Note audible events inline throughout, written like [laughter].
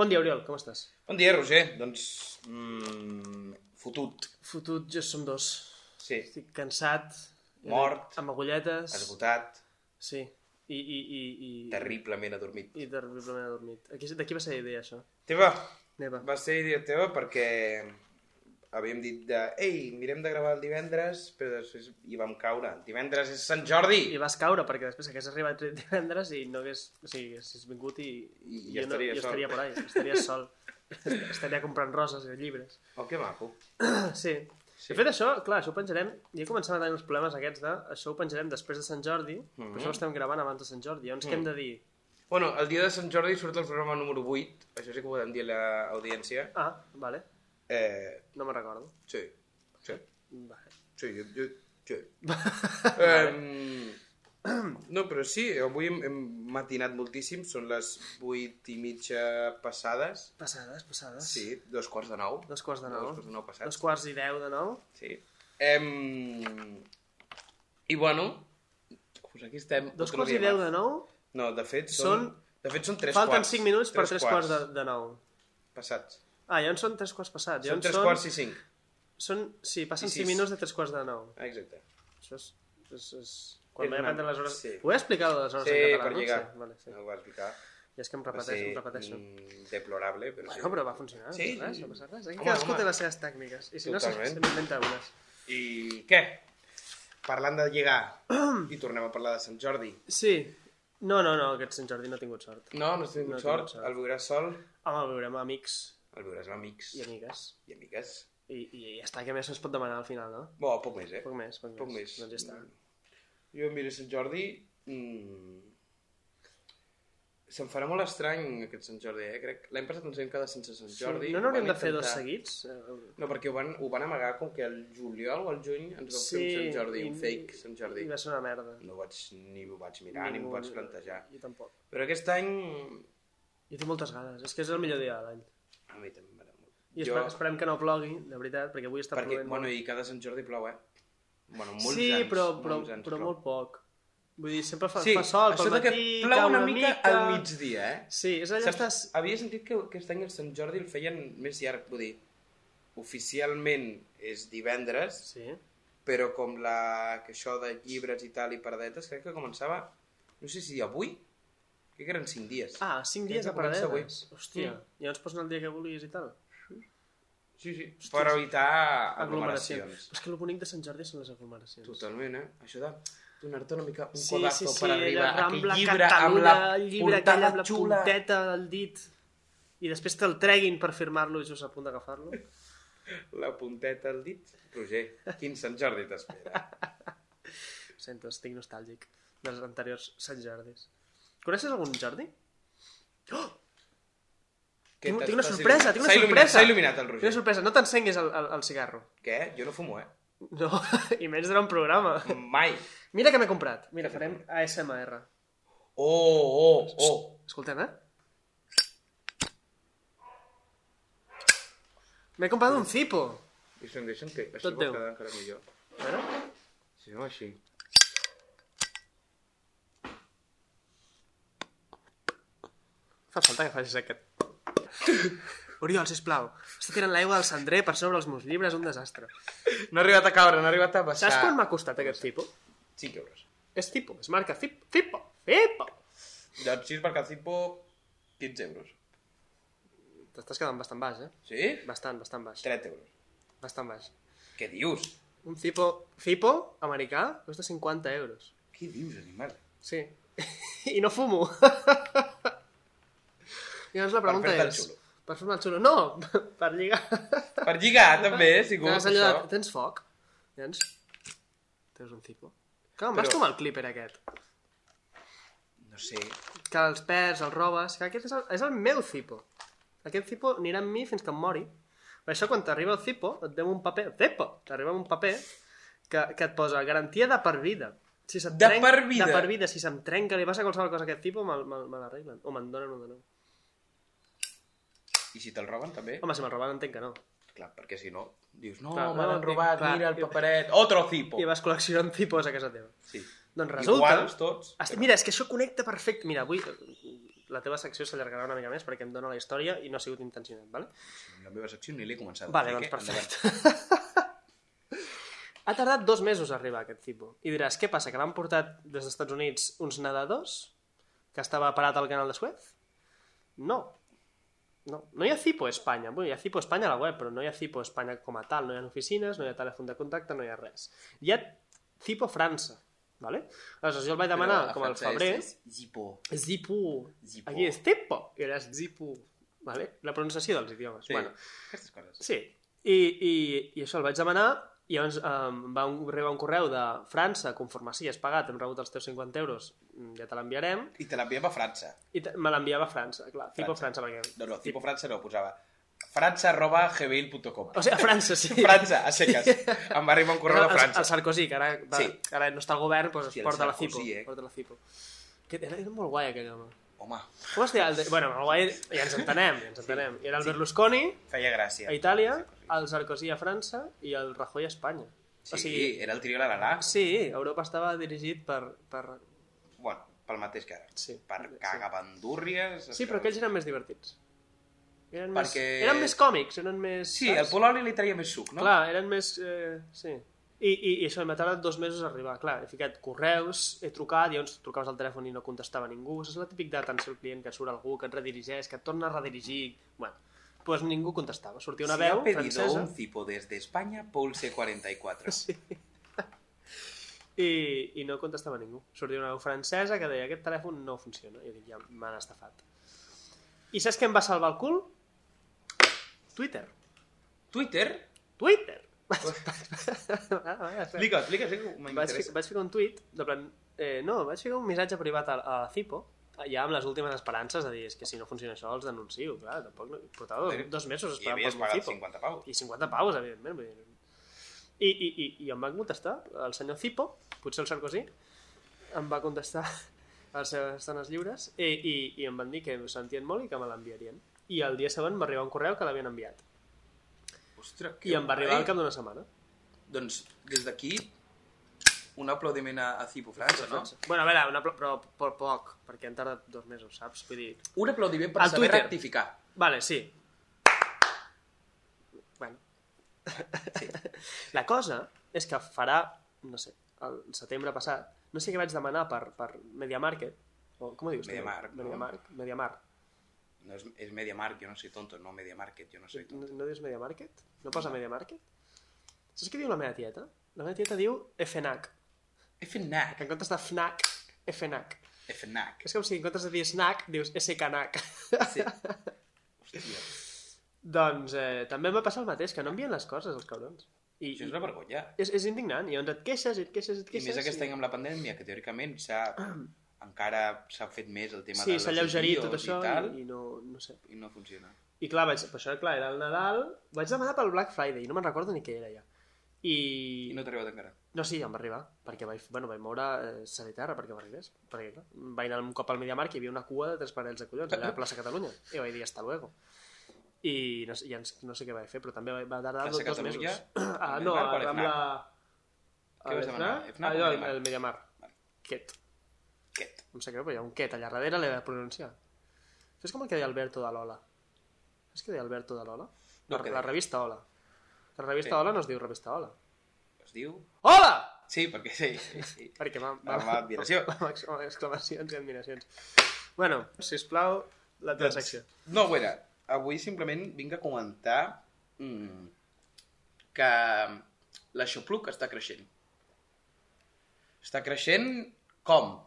Bon dia, Oriol, com estàs? Bon dia, Roger. Doncs... Mm, fotut. Fotut, jo som dos. Sí. Estic cansat. Mort. Amb agulletes. Esgotat. Sí. I, i, i, i... Terriblement adormit. I terriblement adormit. Aquí, de qui va ser la idea, això? Teva, Neva. va ser idea teva perquè havíem dit de... Ei, mirem de gravar el divendres, però després hi vam caure. Divendres és Sant I Jordi! vas caure, perquè després hagués arribat divendres i no hagués... O sigui, hagués vingut i... I jo ja estaria jo sol. estaria por ahí, estaria sol. estaria comprant roses i llibres. [clears throat] Oh, que maco. Sí. Sí. De fet, això, clar, això ho penjarem... Ja comencem a tenir uns problemes aquests de... Això ho penjarem després de Sant Jordi, però Mhm. això ho estem gravant abans de Sant Jordi. Llavors, què hem de dir? Bueno, el dia de Sant Jordi surt el programa número 8. Això sí que ho podem dir a l'audiència. Ah, vale. Eh, No me'n recordo. sí. Sí. Vale. Sí, jo... jo [laughs] sí. Em, [clears throat] no, però sí, avui hem, hem matinat moltíssim, són les vuit i mitja passades. Ah, Passades, passades. Sí, dos quarts de nou. Dos quarts de nou. Dos quarts de nou passats. Dos quarts i deu de nou. Sí. Em, I bueno, doncs aquí estem. Dos otro quarts i dia deu más. de nou. eh? No, de fet són... Són- De fet són tres Falten quarts. cinc minuts per tres quarts, de, de nou. Passats. Ah, ja en són tres quarts passats. Són Llavors tres són, quarts i cinc. Són, sí, passen i cinc sis. minuts de tres quarts de nou. Ah, exacte. Això és... és, és... Quan És vaig una- aprendre les hores... sí. Ho he explicat les hores Sí, en català, per no? lligar. Sí, vale, sí. No ho va explicar. I és que em Va repeteixo, em ser repeteixo. mm, deplorable, però sí. Bueno, però va funcionar. Sí, no, res, sí. no passa res. Aquí Home, cadascú home. té les seves tècniques. I si no, se- Totalment. se n'inventa unes. I què? Parlant de lligar, i tornem a parlar de Sant Jordi. Sí. No, no, no, aquest Sant Jordi no ha tingut sort. No, no has tingut No he tingut sort, sort. el veuràs sol, Home, veurem amics el veuràs amb amics i amigues. i amigues. I, i ja està, que més es pot demanar al final, no? Bo, poc més, eh? Poc més, poc, Poc més. Mm. Doncs ja està. Jo em miro Sant Jordi... Mm... Se'm farà molt estrany aquest Sant Jordi, eh? Crec l'any passat ens vam quedar sense Sant Jordi. no n'hauríem Van de fer dos intentar- seguits? Eh, No, perquè ho van, ho van amagar com que el juliol o el juny ens vam fer un Sant Jordi, un i- fake Sant Jordi. I va ser una merda. No ho vaig, ni ho vaig mirar, ni m'ho Ningú- vaig plantejar. Jo tampoc. Però aquest any... Jo tinc moltes ganes. És que és el millor dia de l'any. A mi també m'agrada molt. I jo... esperem que no plogui, de veritat, perquè avui està perquè, plovent bueno, molt. i cada Sant Jordi plou, eh? Bueno, molts sí, anys. però, però, molts anys però plou. molt poc. Vull dir, sempre fa, Sí, fa sol, això pel de que matí, plou cau una mica, al migdia, eh? Sí, és allà estàs... Saps, havia sentit que aquest any el Sant Jordi el feien més llarg, vull dir, oficialment és divendres, Sí. però com la, que això de llibres i tal i paradetes, crec que començava, no sé si avui, crec que eren 5 dies. Ah, cinc Crec dies que de comença avui. paradetes. Hòstia, mm. llavors pots anar el dia que vulguis i tal. Sí, sí, per evitar Aglomeracions. aglomeracions. Però és que el bonic de Sant Jordi són les aglomeracions. Totalment, eh? Això de donar-te una mica un Sí, codazo sí, sí, per arribar allà, a Rambla, aquell llibre amb Catalunya, la el llibre aquell portada amb la xula. punteta del dit i després te'l treguin per firmar-lo i just a punt d'agafar-lo. La punteta al dit. Roger, quin Sant [laughs] Jordi t'espera. Ho sento, estic nostàlgic dels anteriors Sant Jordis. Coneixes algun Jordi? Què Tinc- t'està tinc una il·luminant? sorpresa, tinc una S'ha il·luminat, sorpresa. S'ha il·luminat el Tinc Roger. una sorpresa, no t'encenguis el, el, el cigarro. Què? Jo no fumo, eh? No, [laughs] i menys durant un programa. Mai. Mira que m'he comprat. Mira, farem ASMR. Oh, oh, oh. Escoltem, eh? M'he comprat un Zippo. I se'n deixen que així Tot pot teu. quedar encara millor. A veure. Si no, així. Fa falta que facis aquest. Oriol, sisplau, està tirant l'aigua del cendrer per sobre els meus llibres, un desastre. No ha arribat a caure, no ha arribat a baixar. Saps quan m'ha costat aquest tipo? 5 euros. És tipo, es marca Zip- Zippo, Zippo. Doncs 6 per cada tipo, 15 euros. T'estàs quedant bastant baix, eh? Sí? Bastant, bastant baix. 3 euros. Bastant baix. Què dius? Un Zippo, Zippo americà costa 50 euros. Què dius, animal? Sí. [laughs] I no fumo. Llavors la pregunta fer-te el és... xulo. Per fer-me el xulo. No, [laughs] per lligar. Per lligar, també, si Tens, vols, allò això. de... Tens foc? Tens... Tens un Zippo. Clar, em Però- vas tomar el clipper aquest. No sé. que els perds, els robes, que aquest és el, és el meu cipo. Aquest cipo anirà amb mi fins que em mori. Per això, quan t'arriba el cipo, et deu un paper, cepo, t'arriba un paper que, que et posa garantia de per vida. Si se't De per vida? De per vida, si se'm trenca, li passa qualsevol cosa a aquest cipo, me, me, me l'arreglen. O me'n donen un de nou. I si te'l roben, també? Home, si me'l roben, entenc que no. Clar, perquè si no, dius, no, Clar, me l'han no, robat, clar, mira el i- paperet, otro cipo. I vas col·leccionant cipos a casa teva. Sí. Doncs resulta... Iguals tots. Esti- Mira, és que això connecta perfecte. Mira, avui... la teva secció s'allargarà una mica més perquè em dóna la història i no ha sigut intencionat, vale? La meva secció ni l'he començat. Vale, doncs així que endavant. perfecte. ha tardat dos mesos a arribar aquest tipus. I diràs, què passa, que l'han portat des dels Estats Units uns nedadors? Que estava parat al canal de Suez? No. No, no hi ha Cipo a Espanya. Bueno, hi ha Cipo a Espanya a la web, però no hi ha Cipo a Espanya com a tal. No hi ha oficines, no hi ha telèfon de contacte, no hi ha res. Hi ha Cipo a França, vale? Aleshores, jo el vaig demanar Però a com al França és- febrer... és Zipo. Zipu. Zipo. Aquí és Tepo, i ara és Zipu. Vale? La pronunciació dels idiomes. Sí, Sí. Bueno, aquestes coses. sí. I, i, I això el vaig demanar, i llavors um, va un, arribar un correu de França, conforme sí, has pagat, hem rebut els teus 50 euros, mm, ja te l'enviarem, I te l'enviem a França. i te- me l'enviava a França, clar, Cipo França. França, perquè... No, no, tipo França no, posava frança arroba gmail.com. O sigui, a França, [laughs] sí. França, a [laughs] seques. Em va arribar un correu de El- França. El, Sarkozy, que ara, va, Sí. sí. ara no està al govern, doncs Hòstia, es el porta la Sarkozy, Cipo. eh? Porta la Cipo. Que era, era molt guai aquell home. Home, Com es deia? El de... Bueno, el guai... Ja ens entenem, ja ens entenem. I era el Berlusconi, feia gràcia. a Itàlia, el Sarkozy a França i el Rajoy a Espanya. Sí, era el trio la la la. Ah, sí, Europa estava dirigit per... per... Bueno, pel mateix que ara. Sí. Per cagabandúrries... Sí, però aquells eren més divertits. Eren, Perquè... Perquè- més, eren més còmics, eren més... Sí, el Polònia li traia més suc, no? Clar, eren més... Eh, sí. I, i, i això, m'ha tardat dos mesos a arribar. Clar, he ficat correus, he trucat, i llavors trucaves al telèfon i no contestava ningú. Això és la típic d'atenció al client, que surt algú, que et redirigeix, que et torna a redirigir... Bueno, doncs pues ningú contestava. Sortia una Se veu ha pedido francesa... un cipo desde España, Pulse 44. Sí. I, I no contestava ningú. Sortia una veu francesa que deia aquest telèfon no funciona. I jo dic, ja m'han estafat. I saps què em va salvar el cul? Twitter. Twitter? Twitter! Vaig, [laughs] vaig, Explica, explica, sí, vaig, m'interessa. vaig ficar un tuit, de plan, eh, no, vaig ficar un missatge privat a, a Cipo, ja amb les últimes esperances de dir, és que si no funciona això els denuncio, clar, tampoc no, portava dos, dos mesos I esperant havies pel meu pagat Cipo. 50 paus. I 50 paus, evidentment. Vull dir. I, i, i, I em va contestar el senyor Cipo, potser el Sarkozy, em va contestar [laughs] a les seves estones lliures i, i, i em van dir que ho sentien molt i que me l'enviarien. I el dia següent m'arriba un correu que l'havien enviat. Ostres, I em va arribar guai. al cap d'una setmana. Doncs, des d'aquí, un aplaudiment a, a Cipo França, no? Bueno, a veure, una, pl- però per poc, perquè han tardat dos mesos, saps? Vull dir... Un aplaudiment per Al saber Twitter. rectificar. Vale, sí. Bueno. La cosa és que farà, no sé, el setembre passat, no sé què vaig demanar per, per MediaMarket, o com ho dius? tu? MediaMarkt, no? MediaMarkt, MediaMarkt. No, és, és MediaMarkt, jo no soy tonto, no MediaMarket, jo no soy tonto. No, no dius MediaMarket? No posa MediaMarket? Saps què diu la meva tieta? La meva tieta diu FNAC, FNAC. que en comptes de FNAC, FNAC. [laughs] FNAC. És com si en comptes de dir snack, dius SKNAC. Sí. Hòstia, [laughs] doncs eh, també em va passar el mateix, que no envien les coses, els cabrons. I, això és una vergonya. és, és indignant, i llavors et queixes, i et queixes, et I queixes... Ah. més aquest any amb la pandèmia, que teòricament s'ha... encara s'ha fet més el tema Sí, de s'ha alleugerit tot vídeos això i, tal, i, i no, no sé. i, no funciona. I clar, vaig, però això clar, era el Nadal, vaig demanar pel Black Friday, no me'n recordo ni què era ja. I... I no t'ha arribat encara. No, sí, ja em va arribar, perquè vaig, bueno, vaig moure eh, Sanitarra perquè m'arribés. Perquè, clar, vaig anar un cop al Mediamarkt i hi havia una cua de tres parells de collons allà a la plaça Catalunya. I vaig dir, hasta luego. I no, sé- ja ens- no sé què vaig fer, però també va, va tardar Plaça dos, dos Catalunya, mesos. Ah, al no, Mediamar o al amb la... Què vas demanar? Fnac o Allò, el, Mediamar? el Mediamarkt. Vale. Ket. Aquest. Em sap greu, però hi ha un ket allà darrere, l'he de pronunciar. Això és com el que deia Alberto de l'Ola. Saps què deia Alberto de l'Ola? No, La, què la deia? revista Ola. La revista Sí. Ola no es diu revista Ola. Es diu... Ola! Sí, perquè sí. sí, sí. Perquè va... Amb admiració. [laughs] Amb ex- amb exclamacions i admiracions. Bueno, sisplau, la Doncs, teva secció. No, bueno, avui simplement vinc a comentar mm, que l'aixopluc està creixent. Està creixent com?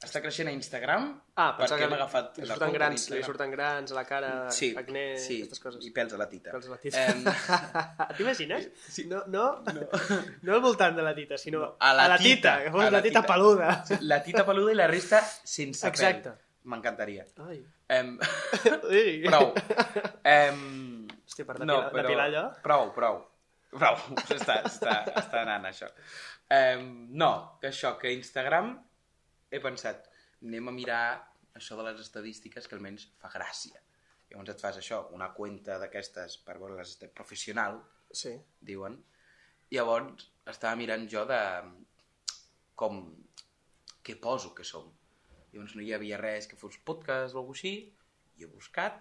Està creixent a Instagram Ah, pensava perquè que hem agafat li la surten compte grans, li d'Instagram. surten grans a la cara, sí, acné, sí, aquestes coses. [laughs] i pèls a la tita. Pels a la tita. T'imagines? Sí. No, no, no. no al voltant de la tita, sinó a la a la tita, tita, que fos a la la tita tita. peluda. Sí, la tita peluda i la resta sense Exacte. pèl. M'encantaria. Ai. Em, Ui. prou. Em, Hòstia, per depilar- depilar allò. Prou, prou. Prou, [laughs] està, està, està anant això. Em, no, que això, que Instagram he pensat, anem a mirar això de les estadístiques que almenys fa gràcia. Llavors et fas això, una cuenta d'aquestes per veure les esta- professional, Sí. diuen. Llavors, estava mirant jo de com... què poso que som. Llavors no hi havia res que fos podcast o alguna així, i he buscat,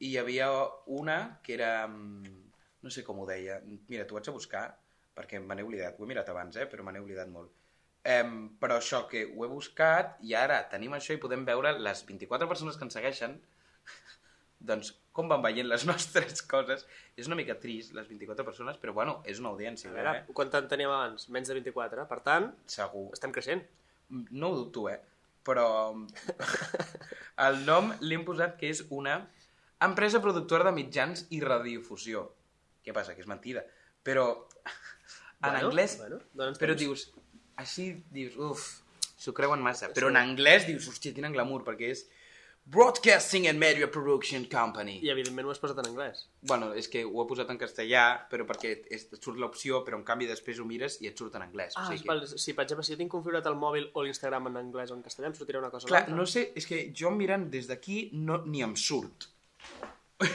i hi havia una que era... mm, no sé com ho deia, mira, t'ho vaig a buscar, perquè me n'he oblidat, ho he mirat abans, eh, però me n'he oblidat molt. Em, però això que ho he buscat, i ara tenim això i podem veure les 24 persones que ens segueixen, [laughs] doncs com van veient les [laughs] nostres coses. És una mica trist, les 24 persones, però bueno, és una audiència. A veure, eh? quant en teníem abans? Menys de 24, eh? Per tant, Segur. estem creixent. No ho dubto, eh? Però [laughs] el nom li hem posat que és una empresa productora de mitjans i radiofusió. Què passa? Que és mentida. Però en Bueno, anglès... bueno, doncs dóna'ns però temps. dius... Així dius... Uf, s'ho creuen massa. Però en anglès dius... Hòstia, quin glamour, perquè és... Broadcasting and Media Production Company. I evidentment ho has posat en anglès. Bueno, és que ho he posat en castellà, però perquè és, et surt l'opció, però en canvi després ho mires i et surt en anglès. Ah, o sigui, que... val, si per exemple, si jo tinc configurat el mòbil o l'Instagram en anglès o en castellà, em sortirà una cosa o Clar, l'altra. no sé, és que jo mirant des d'aquí no, ni em surt. [laughs]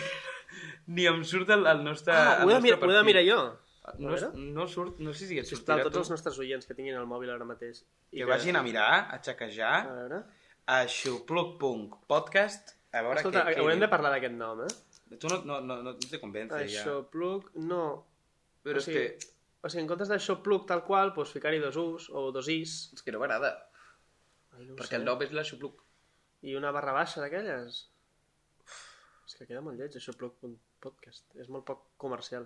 ni em surt el, el nostre Ah, el ho he, de mirar, ho nostre he de perfil. mirar jo. No, es- no surt, no sé si et Sisplau, sortirà tots tu. els nostres oients que tinguin el mòbil ara mateix. I Que vagin a mirar, a xaquejar, A veure... a xupluc.podcast, a veure Ah. Escolta, què... haurem de parlar d'aquest nom, eh? de... Tu no, no, no, no te convence, Això ja. plug, no. o Però sigui, és, O sigui, en comptes d'això plug tal qual, doncs ficar-hi dos us o dos is. que, és que no m'agrada, Ai, no ho perquè el sé. nom és la xupluc. I una barra baixa d'aquelles. És que queda molt lleig, això, Plug Podcast. És molt poc comercial.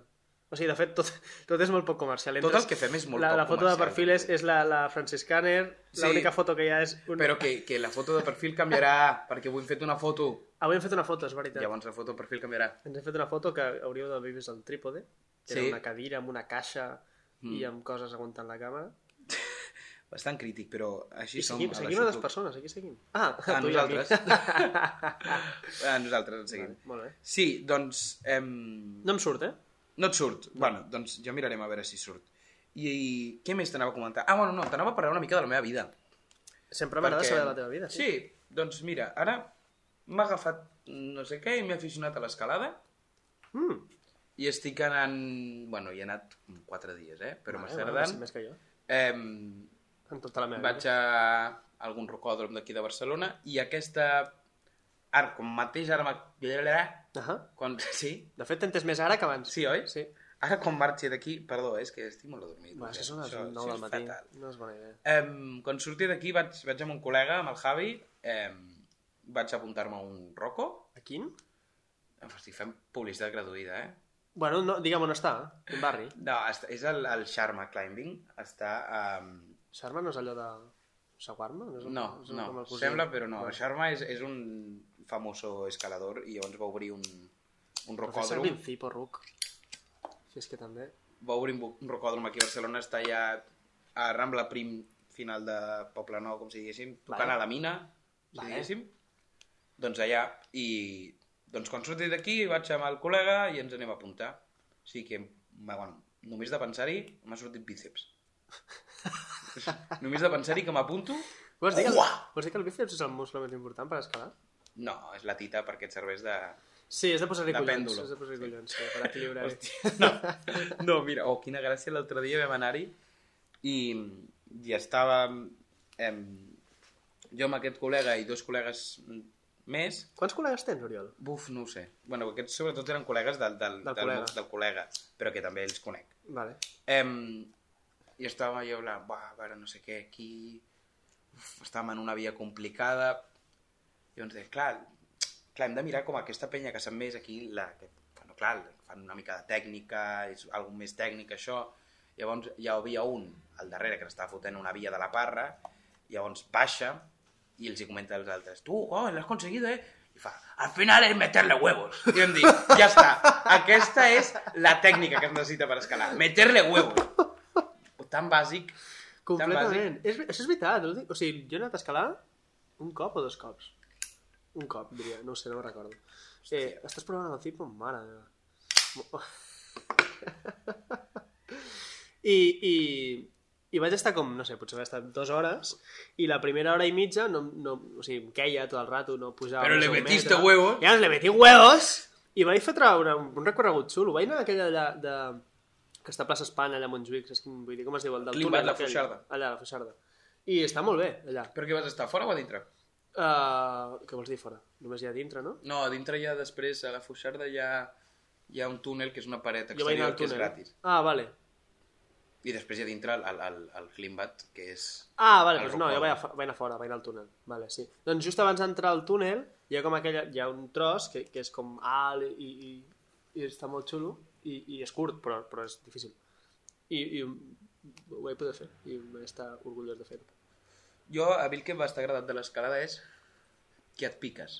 O sigui, de fet, tot, tot és molt poc comercial. Tot el que fem és molt la, poc La foto de comercial, eh? perfil és, és la, la Francis Caner, Sí. sí. l'única foto que hi ha és... Un... Però que, que la foto de perfil canviarà, perquè avui hem fet una foto. Avui hem fet una foto, és veritat. Llavors la foto de perfil canviarà. Ens hem fet una foto que hauríeu d'haver vist al trípode. que Era Sí. una cadira amb una caixa Mm. i amb coses aguantant la càmera. Bastant crític, però així I som. seguim, la seguim a les Xupluc. persones, aquí seguim. Ah, A tu i a mi. nosaltres. a Ah, nosaltres ens seguim. Vale, [laughs] molt bé. Sí, doncs... Ehm... No em surt, eh? No et surt. Bueno, doncs jo mirarem a veure si surt. I, i què més t'anava a comentar? Ah, bueno, no, t'anava a parlar una mica de la meva vida. Sempre m'agrada Perquè- saber de la teva vida. Sí, doncs mira, ara m'ha agafat no sé què i m'he aficionat a l'escalada Mm. i estic anant... Bueno, hi he anat quatre dies, eh? Però Vale, m'està vale, agradant. sí, Més que jo. Ehm, En tota la meva vaig vida. a algun rocòdrom d'aquí de Barcelona i aquesta... Ara, com mateix ara... m'ha- Ahà. Quan... [laughs] Sí? De fet, t'entens més ara que abans. Sí, oi? Sí. Ara quan marxi d'aquí... Perdó, eh, és que estic molt adormit. Va, és que són les Això- 9 això del és matí. fatal. No és bona idea. Em, quan surti d'aquí vaig, vaig amb un col·lega, amb el Javi, em, vaig apuntar-me a un roco. A quin? Hosti, fem publicitat gratuïta, eh? Bueno, no, digue'm on està, quin barri. No, està, és el, el Sharma Climbing. Està... Um... Sharma no és allò de... Saguarma? No, és el- No, és el- com no, el cosí. sembla, però no. Va. El Sharma és, és un famoso escalador i llavors va obrir un, un Però fes servir rocòdrom. el Cipo, Ruc. Si és que també... va obrir un bo- un rocòdrom aquí a Barcelona, està ja a Rambla Prim, final de Poble Nou, com si diguéssim, tocant Vale. a la mina, si Vale. diguéssim. Doncs allà, i doncs quan surti d'aquí vaig amb el col·lega i ens anem a apuntar. O sigui que, ma- bueno, només de pensar-hi m'ha sortit bíceps. [laughs] només de pensar-hi que m'apunto, Vols dir, que el, Uah! vols dir que el bíceps és el muscle més important per escalar? no, és la tita perquè et serveix de... Sí, és de posar-hi De collons. pèndulo. És de posar-hi collons, sí, per equilibrar. Hòstia, no, no, mira, oh, quina gràcia, l'altre dia vam anar-hi i, i estàvem em, jo amb aquest col·lega i dos col·legues més, Quants col·legues tens, Oriol? buf, no ho sé. Bueno, aquests sobretot eren col·legues del, del, Del col·lega. del col·lega, però que també els conec. Vale. Em, I estàvem allò, la, va, a veure, no sé què, aquí... Uf, estàvem en una via complicada. I doncs, deia, clar, clar, hem de mirar com aquesta penya que sap més aquí, la, que, bueno, clar, fan una mica de tècnica, és algun més tècnic, això. Llavors ja hi havia un al darrere que l'estava fotent una via de la parra, llavors baixa i els hi comenta als altres, tu, oh, l'has aconseguit, eh? I fa, al final és meterle huevos. I vam dir, ja està, aquesta és la tècnica que es necessita per escalar, meterle huevos. Tan bàsic, Completament. És, ver- això és veritat. l'últim- O sigui, jo he anat a escalar un cop o dos cops. Un cop, diria. No ho sé, no ho recordo. Eh, estàs provant el Cipo? Mare meva. Mo- [laughs] I, i, I vaig estar com, no sé, potser vaig estar dues hores i la primera hora i mitja no, no, o sigui, em queia tot el rato, no pujava... Però més le d'un metiste metre. huevos. Ja, le metí huevos! I vaig fer treure un, un recorregut xulo. Vaig anar a aquella de, de, que està a plaça Espanya, allà a Montjuïc, saps quin, vull dir, com es diu? El del Climbat, túnel la aquell. Foixarda. Allà, la Fuixarda. I està molt bé, allà. però què vas estar, fora o a dintre? Uh, què vols dir fora? Només hi ha dintre, no? No, a dintre ja després, a la Fuixarda hi ha, hi ha un túnel que és una paret Jo vaig anar exterior al que és túnel. gratis. Ah, vale. I després hi ha dintre el, el, el, el Klimbat, que és... Ah, vale, Al doncs no, Rocol. jo vaig a, fa- vaig anar fora, vaig anar al túnel. Vale, sí. Doncs just abans d'entrar al túnel hi ha com aquella, hi ha un tros que, que és com alt i, i, i està molt xulo i, i és curt, però, però és difícil. I, i ho vaig poder fer i vaig estar orgullós de fer-ho. Jo, a mi el que em va estar agradat de l'escalada és que et piques.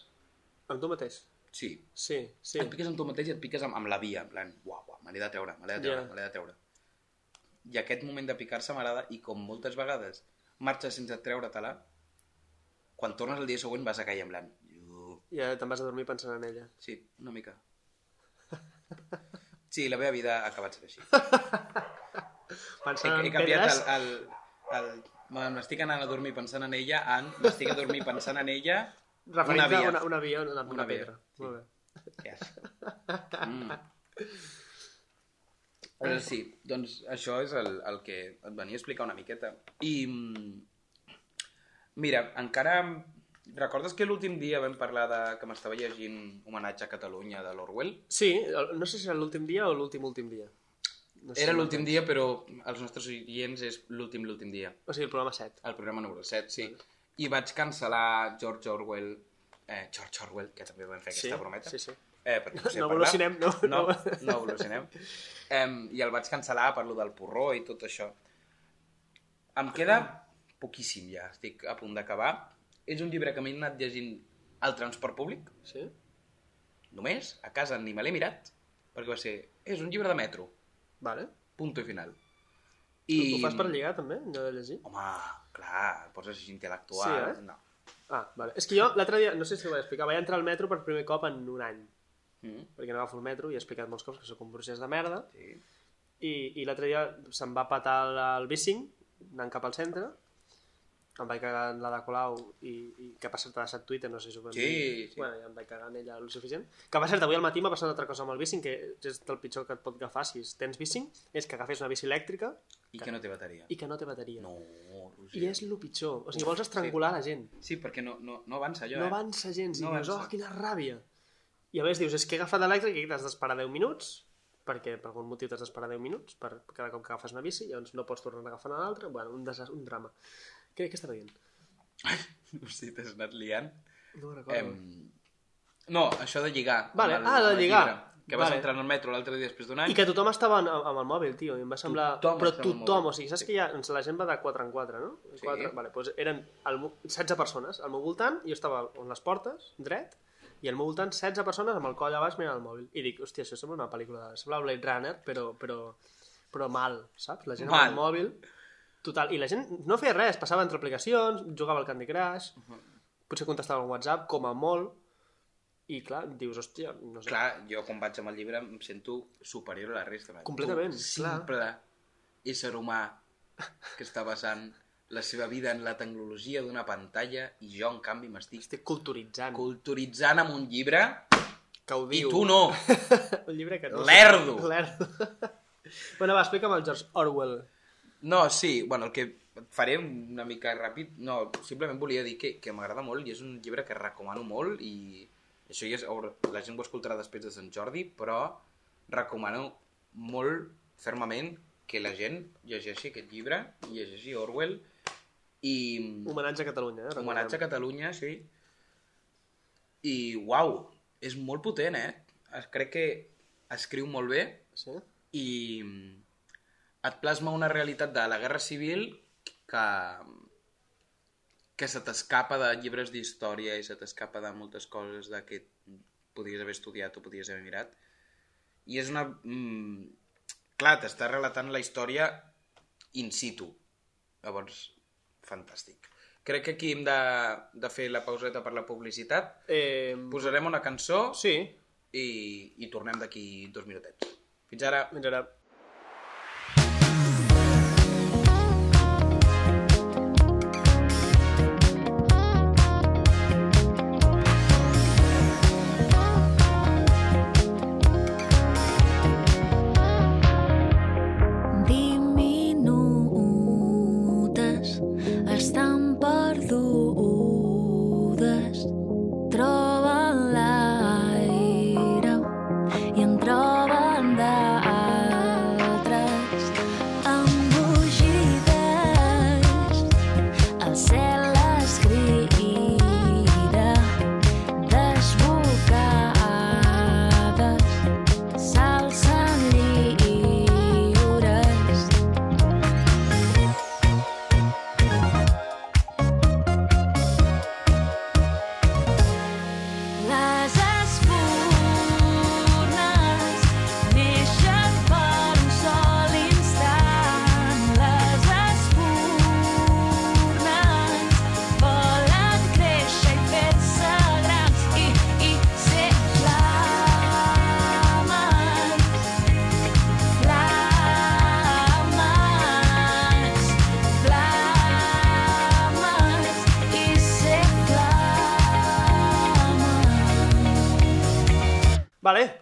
Amb tu mateix? Sí. Sí, sí. Et piques amb tu mateix i et piques amb, amb la via, en plan, uau, uau, me l'he de treure, me l'he de treure, Ja. yeah. me l'he de treure. I aquest moment de picar-se m'agrada i com moltes vegades marxes sense treure-te-la, quan tornes el dia següent vas a caure en blanc. Iu. Ja te'n vas a dormir pensant en ella. Sí, una mica. [laughs] Sí, la meva vida ha acabat sent així. He, Pensant he en canviat el... pedres... el, el, el m'estic anant a dormir pensant en ella, en m'estic a dormir pensant en ella, Referint-te una via. Una, una via, una, una, Una via, pedra. sí. Molt bé. Yes. Mm. Però sí, doncs això és el, el que et venia a explicar una miqueta. I, mm, mira, encara... Recordes que l'últim dia vam parlar de que m'estava llegint Homenatge a Catalunya de l'Orwell? Sí, el- no sé si era l'últim dia o l'últim últim dia. No sé Era si l'últim dia, però als nostres oients és l'últim l'últim dia. O sigui, el programa 7. El programa número 7, sí. I vaig cancel·lar George Orwell... Eh, George Orwell, que també vam fer aquesta brometa. Sí, sí. Eh, perquè no, sé No parlar. evolucionem, no, No, no. no evolucionem. Em, I el vaig cancel·lar per lo del porró i tot això. Em queda poquíssim ja, estic a punt d'acabar. És un llibre que m'he anat llegint al transport públic, Sí? només, a casa ni me l'he mirat, perquè va ser... És un llibre de metro, Vale. punto i final. I... Ho fas per lligar, també, no de llegir? Home, clar, et poses així intel·lectual. Sí, eh? No. Ah, vale. És que jo l'altre dia, no sé si ho vaig explicar, vaig entrar al metro per primer cop en un any, Mm, perquè no agafo el metro i he explicat molts cops que sóc un procés de merda, sí. i, i l'altre dia se'm va patar el, el bicing, anant cap al centre, em vaig cagar en la de Colau i, i que per cert t'ha deixat Twitter, no sé si ho vam Sí, dir. sí. Bueno, ja em vaig cagar en ella el suficient. Que per cert, avui al matí m'ha passat una altra cosa amb el bicing, que és el pitjor que et pot agafar si tens bicing, és que agafes una bici elèctrica I que no té bateria. i que no té bateria. No, I Roger. és el pitjor. O sigui, Uf, vols estrangular la gent. Sí, perquè no, no, no avança allò, No [laughs] eh? avança gens. I No no dius, avança. oh, quina ràbia. I a més dius, és que he agafat elèctric i t'has d'esperar 10 minuts, perquè per algun motiu t'has d'esperar 10 minuts per cada cop que agafes una bici, llavors no pots tornar a agafar una altra. Bueno, un, desas... un drama. Què, què estava dient? No sé, t'has anat liant. No ho recordo. Em... No, això de lligar. Vale, amb ah, de amb lligar. llibre, que vas Vale. entrar en el metro l'altre dia després d'un any. I que tothom estava en- amb el mòbil, tio, i em va semblar... Tothom Però estava amb el tothom, mòbil. o sigui, saps que ja, la gent va de 4 en 4, no? Sí. 4, vale, doncs eren al, meu- 16 persones al meu voltant, jo estava on les portes, dret, i al meu voltant 16 persones amb el coll a baix mirant el mòbil. I dic, hòstia, això sembla una pel·lícula, sembla Blade Runner, però, però, però mal, saps? La gent Mal. amb el mòbil... Total, i la gent no feia res, passava entre aplicacions, jugava al Candy Crush, potser contestava al WhatsApp, com a molt, i clar, dius, hòstia, no sé. Clar, jo quan vaig amb el llibre em sento superior a la resta. Perquè Completament, tu, clar. simple ésser humà que està basant la seva vida en la tecnologia d'una pantalla i jo, en canvi, m'estic Estic culturitzant. culturitzant amb un llibre que ho i diu. tu no. Un llibre que... Lerdo. Lerdo. [laughs] bueno, va, explica'm el George Orwell. No, sí, bueno, el que faré una mica ràpid, no, simplement volia dir que, que m'agrada molt i és un llibre que recomano molt i això ja és, obre- la gent ho escoltarà després de Sant Jordi, però recomano molt fermament que la gent llegeixi aquest llibre, llegeixi Orwell i Homenatge a Catalunya, eh? homenatge a Catalunya, sí. I uau, és molt potent, eh? Es- Crec que escriu molt bé Sí? i et plasma una realitat de la Guerra Civil que, que se t'escapa de llibres d'història i se t'escapa de moltes coses de que podies haver estudiat o podies haver mirat. I és una... Mm, clar, t'està relatant la història in situ. Llavors, fantàstic. Crec que aquí hem de, de fer la pauseta per la publicitat. Eh, Posarem una cançó sí, i, i tornem d'aquí dos minutets. Fins ara. fins ara. Diminudes estan perdudes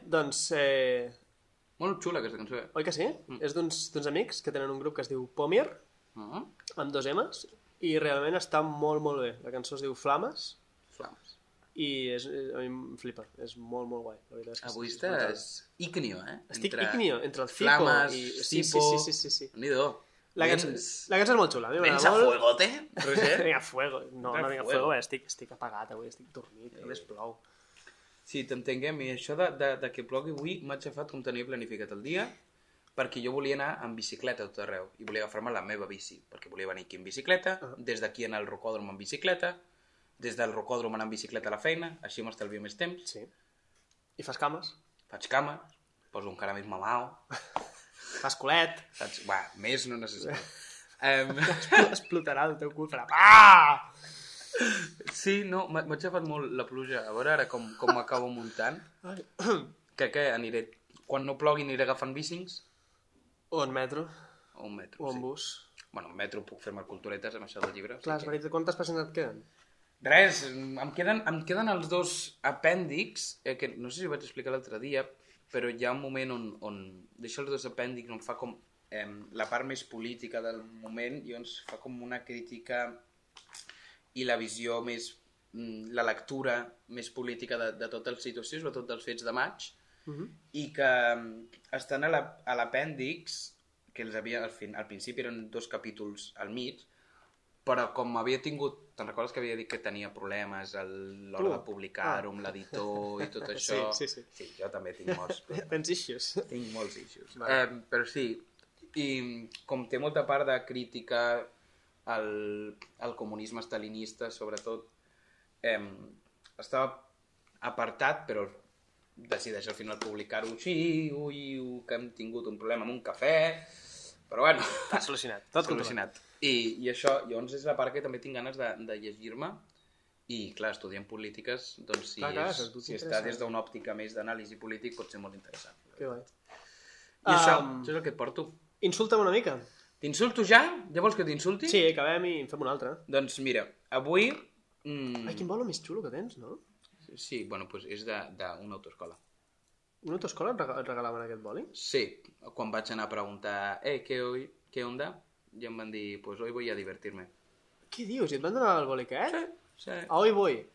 Doncs, eh, Molt xula aquesta cançó. eh? oi que sí? Mm. És d'uns d'uns amics que tenen un grup que es diu Pomir, Ah, amb dos M's, i realment està molt, molt bé. La cançó es diu Flames, flames. i és, és, a mi em flipa, és molt, molt guai. La veritat és que Avui sí, és brutal. estàs ícnio, eh? Estic entre... ígnio, entre el Cipo Flames, i... Sí, sí, Cipo... sí, sí, sí, sí. Nidó. La, cançó, la cançó és molt xula, a mi Vens m'agrada [laughs] a molt. fuegote, [laughs] Roger? Vinga, fuego. No, Vinga, no vinga, fuego. Eh, fuego, eh? estic, estic apagat avui, estic dormit, a més plou. sí, t'entenguem. I això de, de, de que plogui avui m'ha aixafat com tenia planificat el dia perquè jo volia anar amb bicicleta a tot arreu i volia agafar-me la meva bici, perquè volia venir aquí en bicicleta, Ah. des d'aquí anar al rocòdrom en bicicleta, des del rocòdrom anar en bicicleta a la feina, així m'estalvio més temps, Sí. I fas cames? faig cama, poso encara més malalt, Fas [laughs] culet? saps? Va, més [laughs] no necessito. Um, Explotarà el teu cul, farà... Ah! Sí, no, m'ha m'ha aixafat molt la pluja. A veure ara com, [laughs] com m'acabo muntant. Ai. Que què, aniré... Quan no plogui aniré agafant bicings O en metro, o un metro. o en Sí. bus. Bueno, un metro puc fer-me culturetes amb això del llibre. o Clar, és sigui que- veritat, quantes persones et [laughs] queden? Res, em queden, em queden els dos apèndics, eh, que no sé si ho vaig explicar l'altre dia, però hi ha un moment on, on deixo els dos apèndics on fa com eh, la part més política del moment i on es fa com una crítica i la visió més, mm, la lectura més política de, de tota la situació, sobretot dels fets de maig, Uh -huh. i que mm, estan a la- a l'apèndix, que els havia, al, fin, al principi eren dos capítols al mig, però com havia tingut, te'n recordes que havia dit que tenia problemes a l'hora Tu? Ah. de publicar-ho amb l'editor i tot això? [laughs] Sí, sí, sí. Sí, jo també tinc molts problemes. Tens issues. tinc molts issues. Vale. Eh, però sí, i com té molta part de crítica al, al comunisme estalinista, sobretot, eh, estava apartat, però decideix al final publicar-ho així, ui, ui, que hem tingut un problema amb un cafè, però bueno, T'has solucionat. Tot solucionat. solucionat. I, I això, llavors és la part que també tinc ganes de, de llegir-me, i clar, estudiant polítiques, doncs si, Clar, clar, és, és tot si està interessant. des d'una òptica més d'anàlisi polític pot ser molt interessant. Que guai. I això, Um, això és el que et porto. Insulta'm una mica. T'insulto ja? Ja vols que t'insulti? Sí, acabem i en fem un altre. Doncs mira, avui... Mm, Ai, quin bolo més xulo que tens, no? Sí, bueno, doncs és de- d'una autoescola. Una autoscola et rega- et regalaven aquest boli? Sí, quan vaig anar a preguntar, eh, què, hoy, què onda? I em van dir, pues hoy voy a divertirme. Què dius? I et van donar el boli aquest? Sí. Sí. A Oi Boi.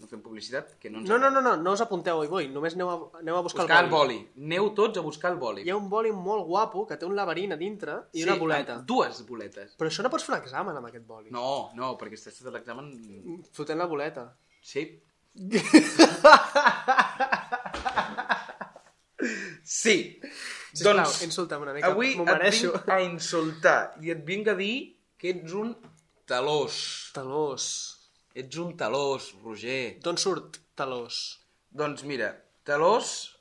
No fem publicitat, que no ens No, no, no, no, no us apunteu a Oi Boi, només aneu a, aneu a buscar, el Buscar el boli. Aneu tots a buscar el boli. Hi ha un boli molt guapo que té un laberint a dintre i una boleta. eh, Dues boletes. Però això no pots fer un examen amb aquest boli. No, no, perquè estàs de l'examen... Fotent la boleta. Sí. sí. [laughs] Sisplau, doncs, insulta'm una mica, Avui m'ho et mereixo. vinc a insultar i et vinc a dir que ets un talós. Talós. Ets un talós, Roger. D'on surt talós? [laughs] Doncs mira, talós...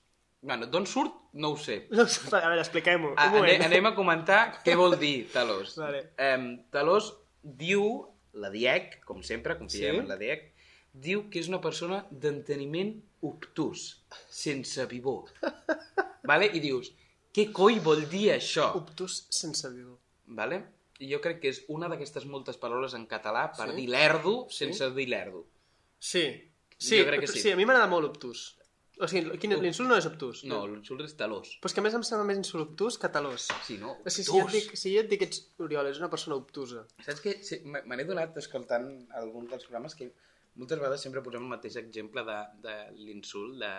Bueno, d'on surt? No ho sé. No, surt- a veure, expliquem-ho. Ah, un moment. ane- anem a comentar què vol dir talós. Vale. Em, talós diu, la DIEC, com sempre, confiem Sí? sí? en la DIEC, diu que és una persona d'enteniment obtús, sense vivó. [laughs] vale? I dius, què coi vol dir això? Obtús sense viu. Vale? I jo crec que és una d'aquestes moltes paraules en català per Sí? dir lerdo sense dir lerdo. Sí. Sí, Jo crec que sí. sí, a mi m'agrada molt obtús. O sigui, quin- l'insult no és obtús. No, l'insult és talós. Però és que a més em sembla més insult obtús que talós. Sí, no? O sigui, si, Obtús. jo et dic, si jo et dic que ets, Oriol, és una persona obtusa. Saps que sí, me me n'he donat escoltant algun dels programes que moltes vegades sempre posem el mateix exemple de, de l'insult, de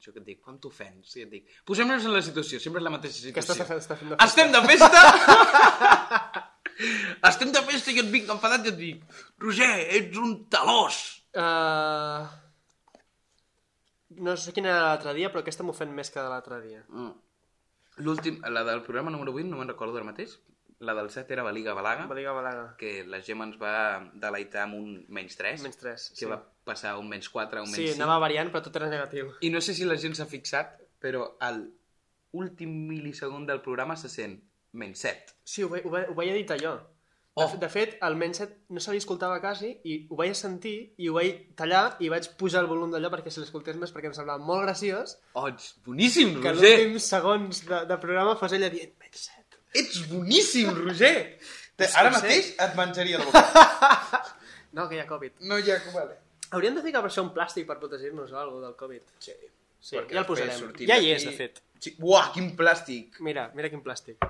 això que et dic, quan t'ofens, i et dic, posem-nos en la situació, sempre és la mateixa Que estàs, situació. estàs fent de Estem de festa! [laughs] Estem de festa i jo et vinc enfadat i et dic, Roger, ets un talós! Uh... No sé quina era l'altre dia, però aquesta m'ho fent més que de l'altre dia. Mm. L'últim, la del programa número 8, no me'n recordo ara mateix, la del 7 era Baliga Balaga, Baliga Balaga. que la Gemma ens va deleitar amb un menys 3, Menys 3. que va passar a un menys 4, a un Sí, menys 5. anava variant, però tot era negatiu. I no sé si la gent s'ha fixat, però al últim mil·lisegon del programa se sent menys 7. Sí, ho, ve, ho, ve, ho vaig editar jo. Oh. De, de fet, el menys 7 no se li escoltava quasi i ho vaig sentir i ho vaig tallar i vaig pujar el volum d'allò perquè se l'escoltés més perquè em semblava molt graciós Oh, ets boníssim, que a Roger! l'últim segons de, de programa fos ella dient menys 7. Ets boníssim, Roger! [laughs] Te, És que ara ho sé. mateix et menjaria la boca. No, que hi ha Covid. No hi ha com... Vale. Hauríem de ficar per això un plàstic per protegir-nos o alguna del Covid. Sí. Sí, Perquè ja el després posarem. sortim Ja hi és, d'aquí- de fet. Sí. Uah, quin plàstic! Mira, mira quin plàstic.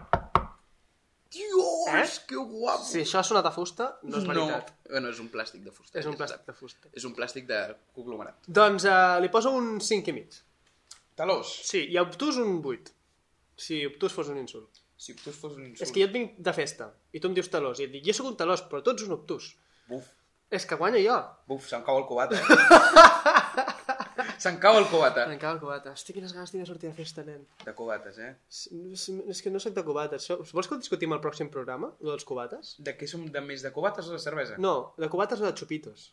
Dios, Eh? que guapo! Si això ha sonat a fusta, no és veritat. No, bueno, és un plàstic de fusta. És un ja plàstic de fusta. està. És un plàstic de conglomerat. Doncs uh, li poso un 5 i mig. Talós, Sí, i a obtús un 8. Si obtús fos un insult. si tu fos un insult... És que jo et vinc de festa i tu em dius talós i et dic, jo sóc un talós, però tu ets un obtús. Buf, És que guanyo jo. buf, se'm cau el cubata. Eh? [laughs] se'm cau el cubata. Em cau el cubata. Hosti, quines ganes tinc de sortir de festa, nen. De cubates, eh? S- s- És que no sóc de cubates. So- Vols que ho discutim al pròxim programa, lo dels cubates? De què som de més, de cubates o de cervesa? No, de cubates o de xupitos.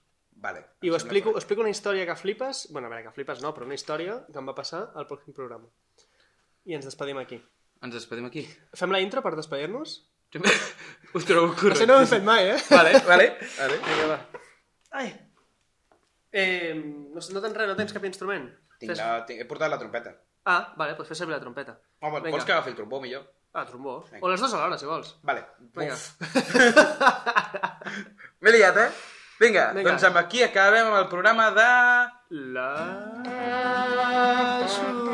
I Vale. em ho sembla explico, correcte. explico una història que flipes... bueno, a veure, que flipes no, però una història que em va passar al pròxim programa. I ens despedim aquí. Ens despedim aquí. Fem la intro per despedir-nos? Ho trobo Això no ho hem correcte. fet mai, eh? Vale, vale, vale. Vinga, va. Ai! Eh, no, no tens res, no tens cap instrument? Tinc la, tinc, he portat la trompeta. Ah, vale, doncs fes servir la trompeta. Home, Vinga. vols que agafi el trombó, millor? Ah, trombó. Vinga. O les dues alhora, si vols. Vale. Vinga. Uf. [laughs] M'he liat, eh? Vinga, Vinga. doncs amb aquí acabem amb el programa de... La...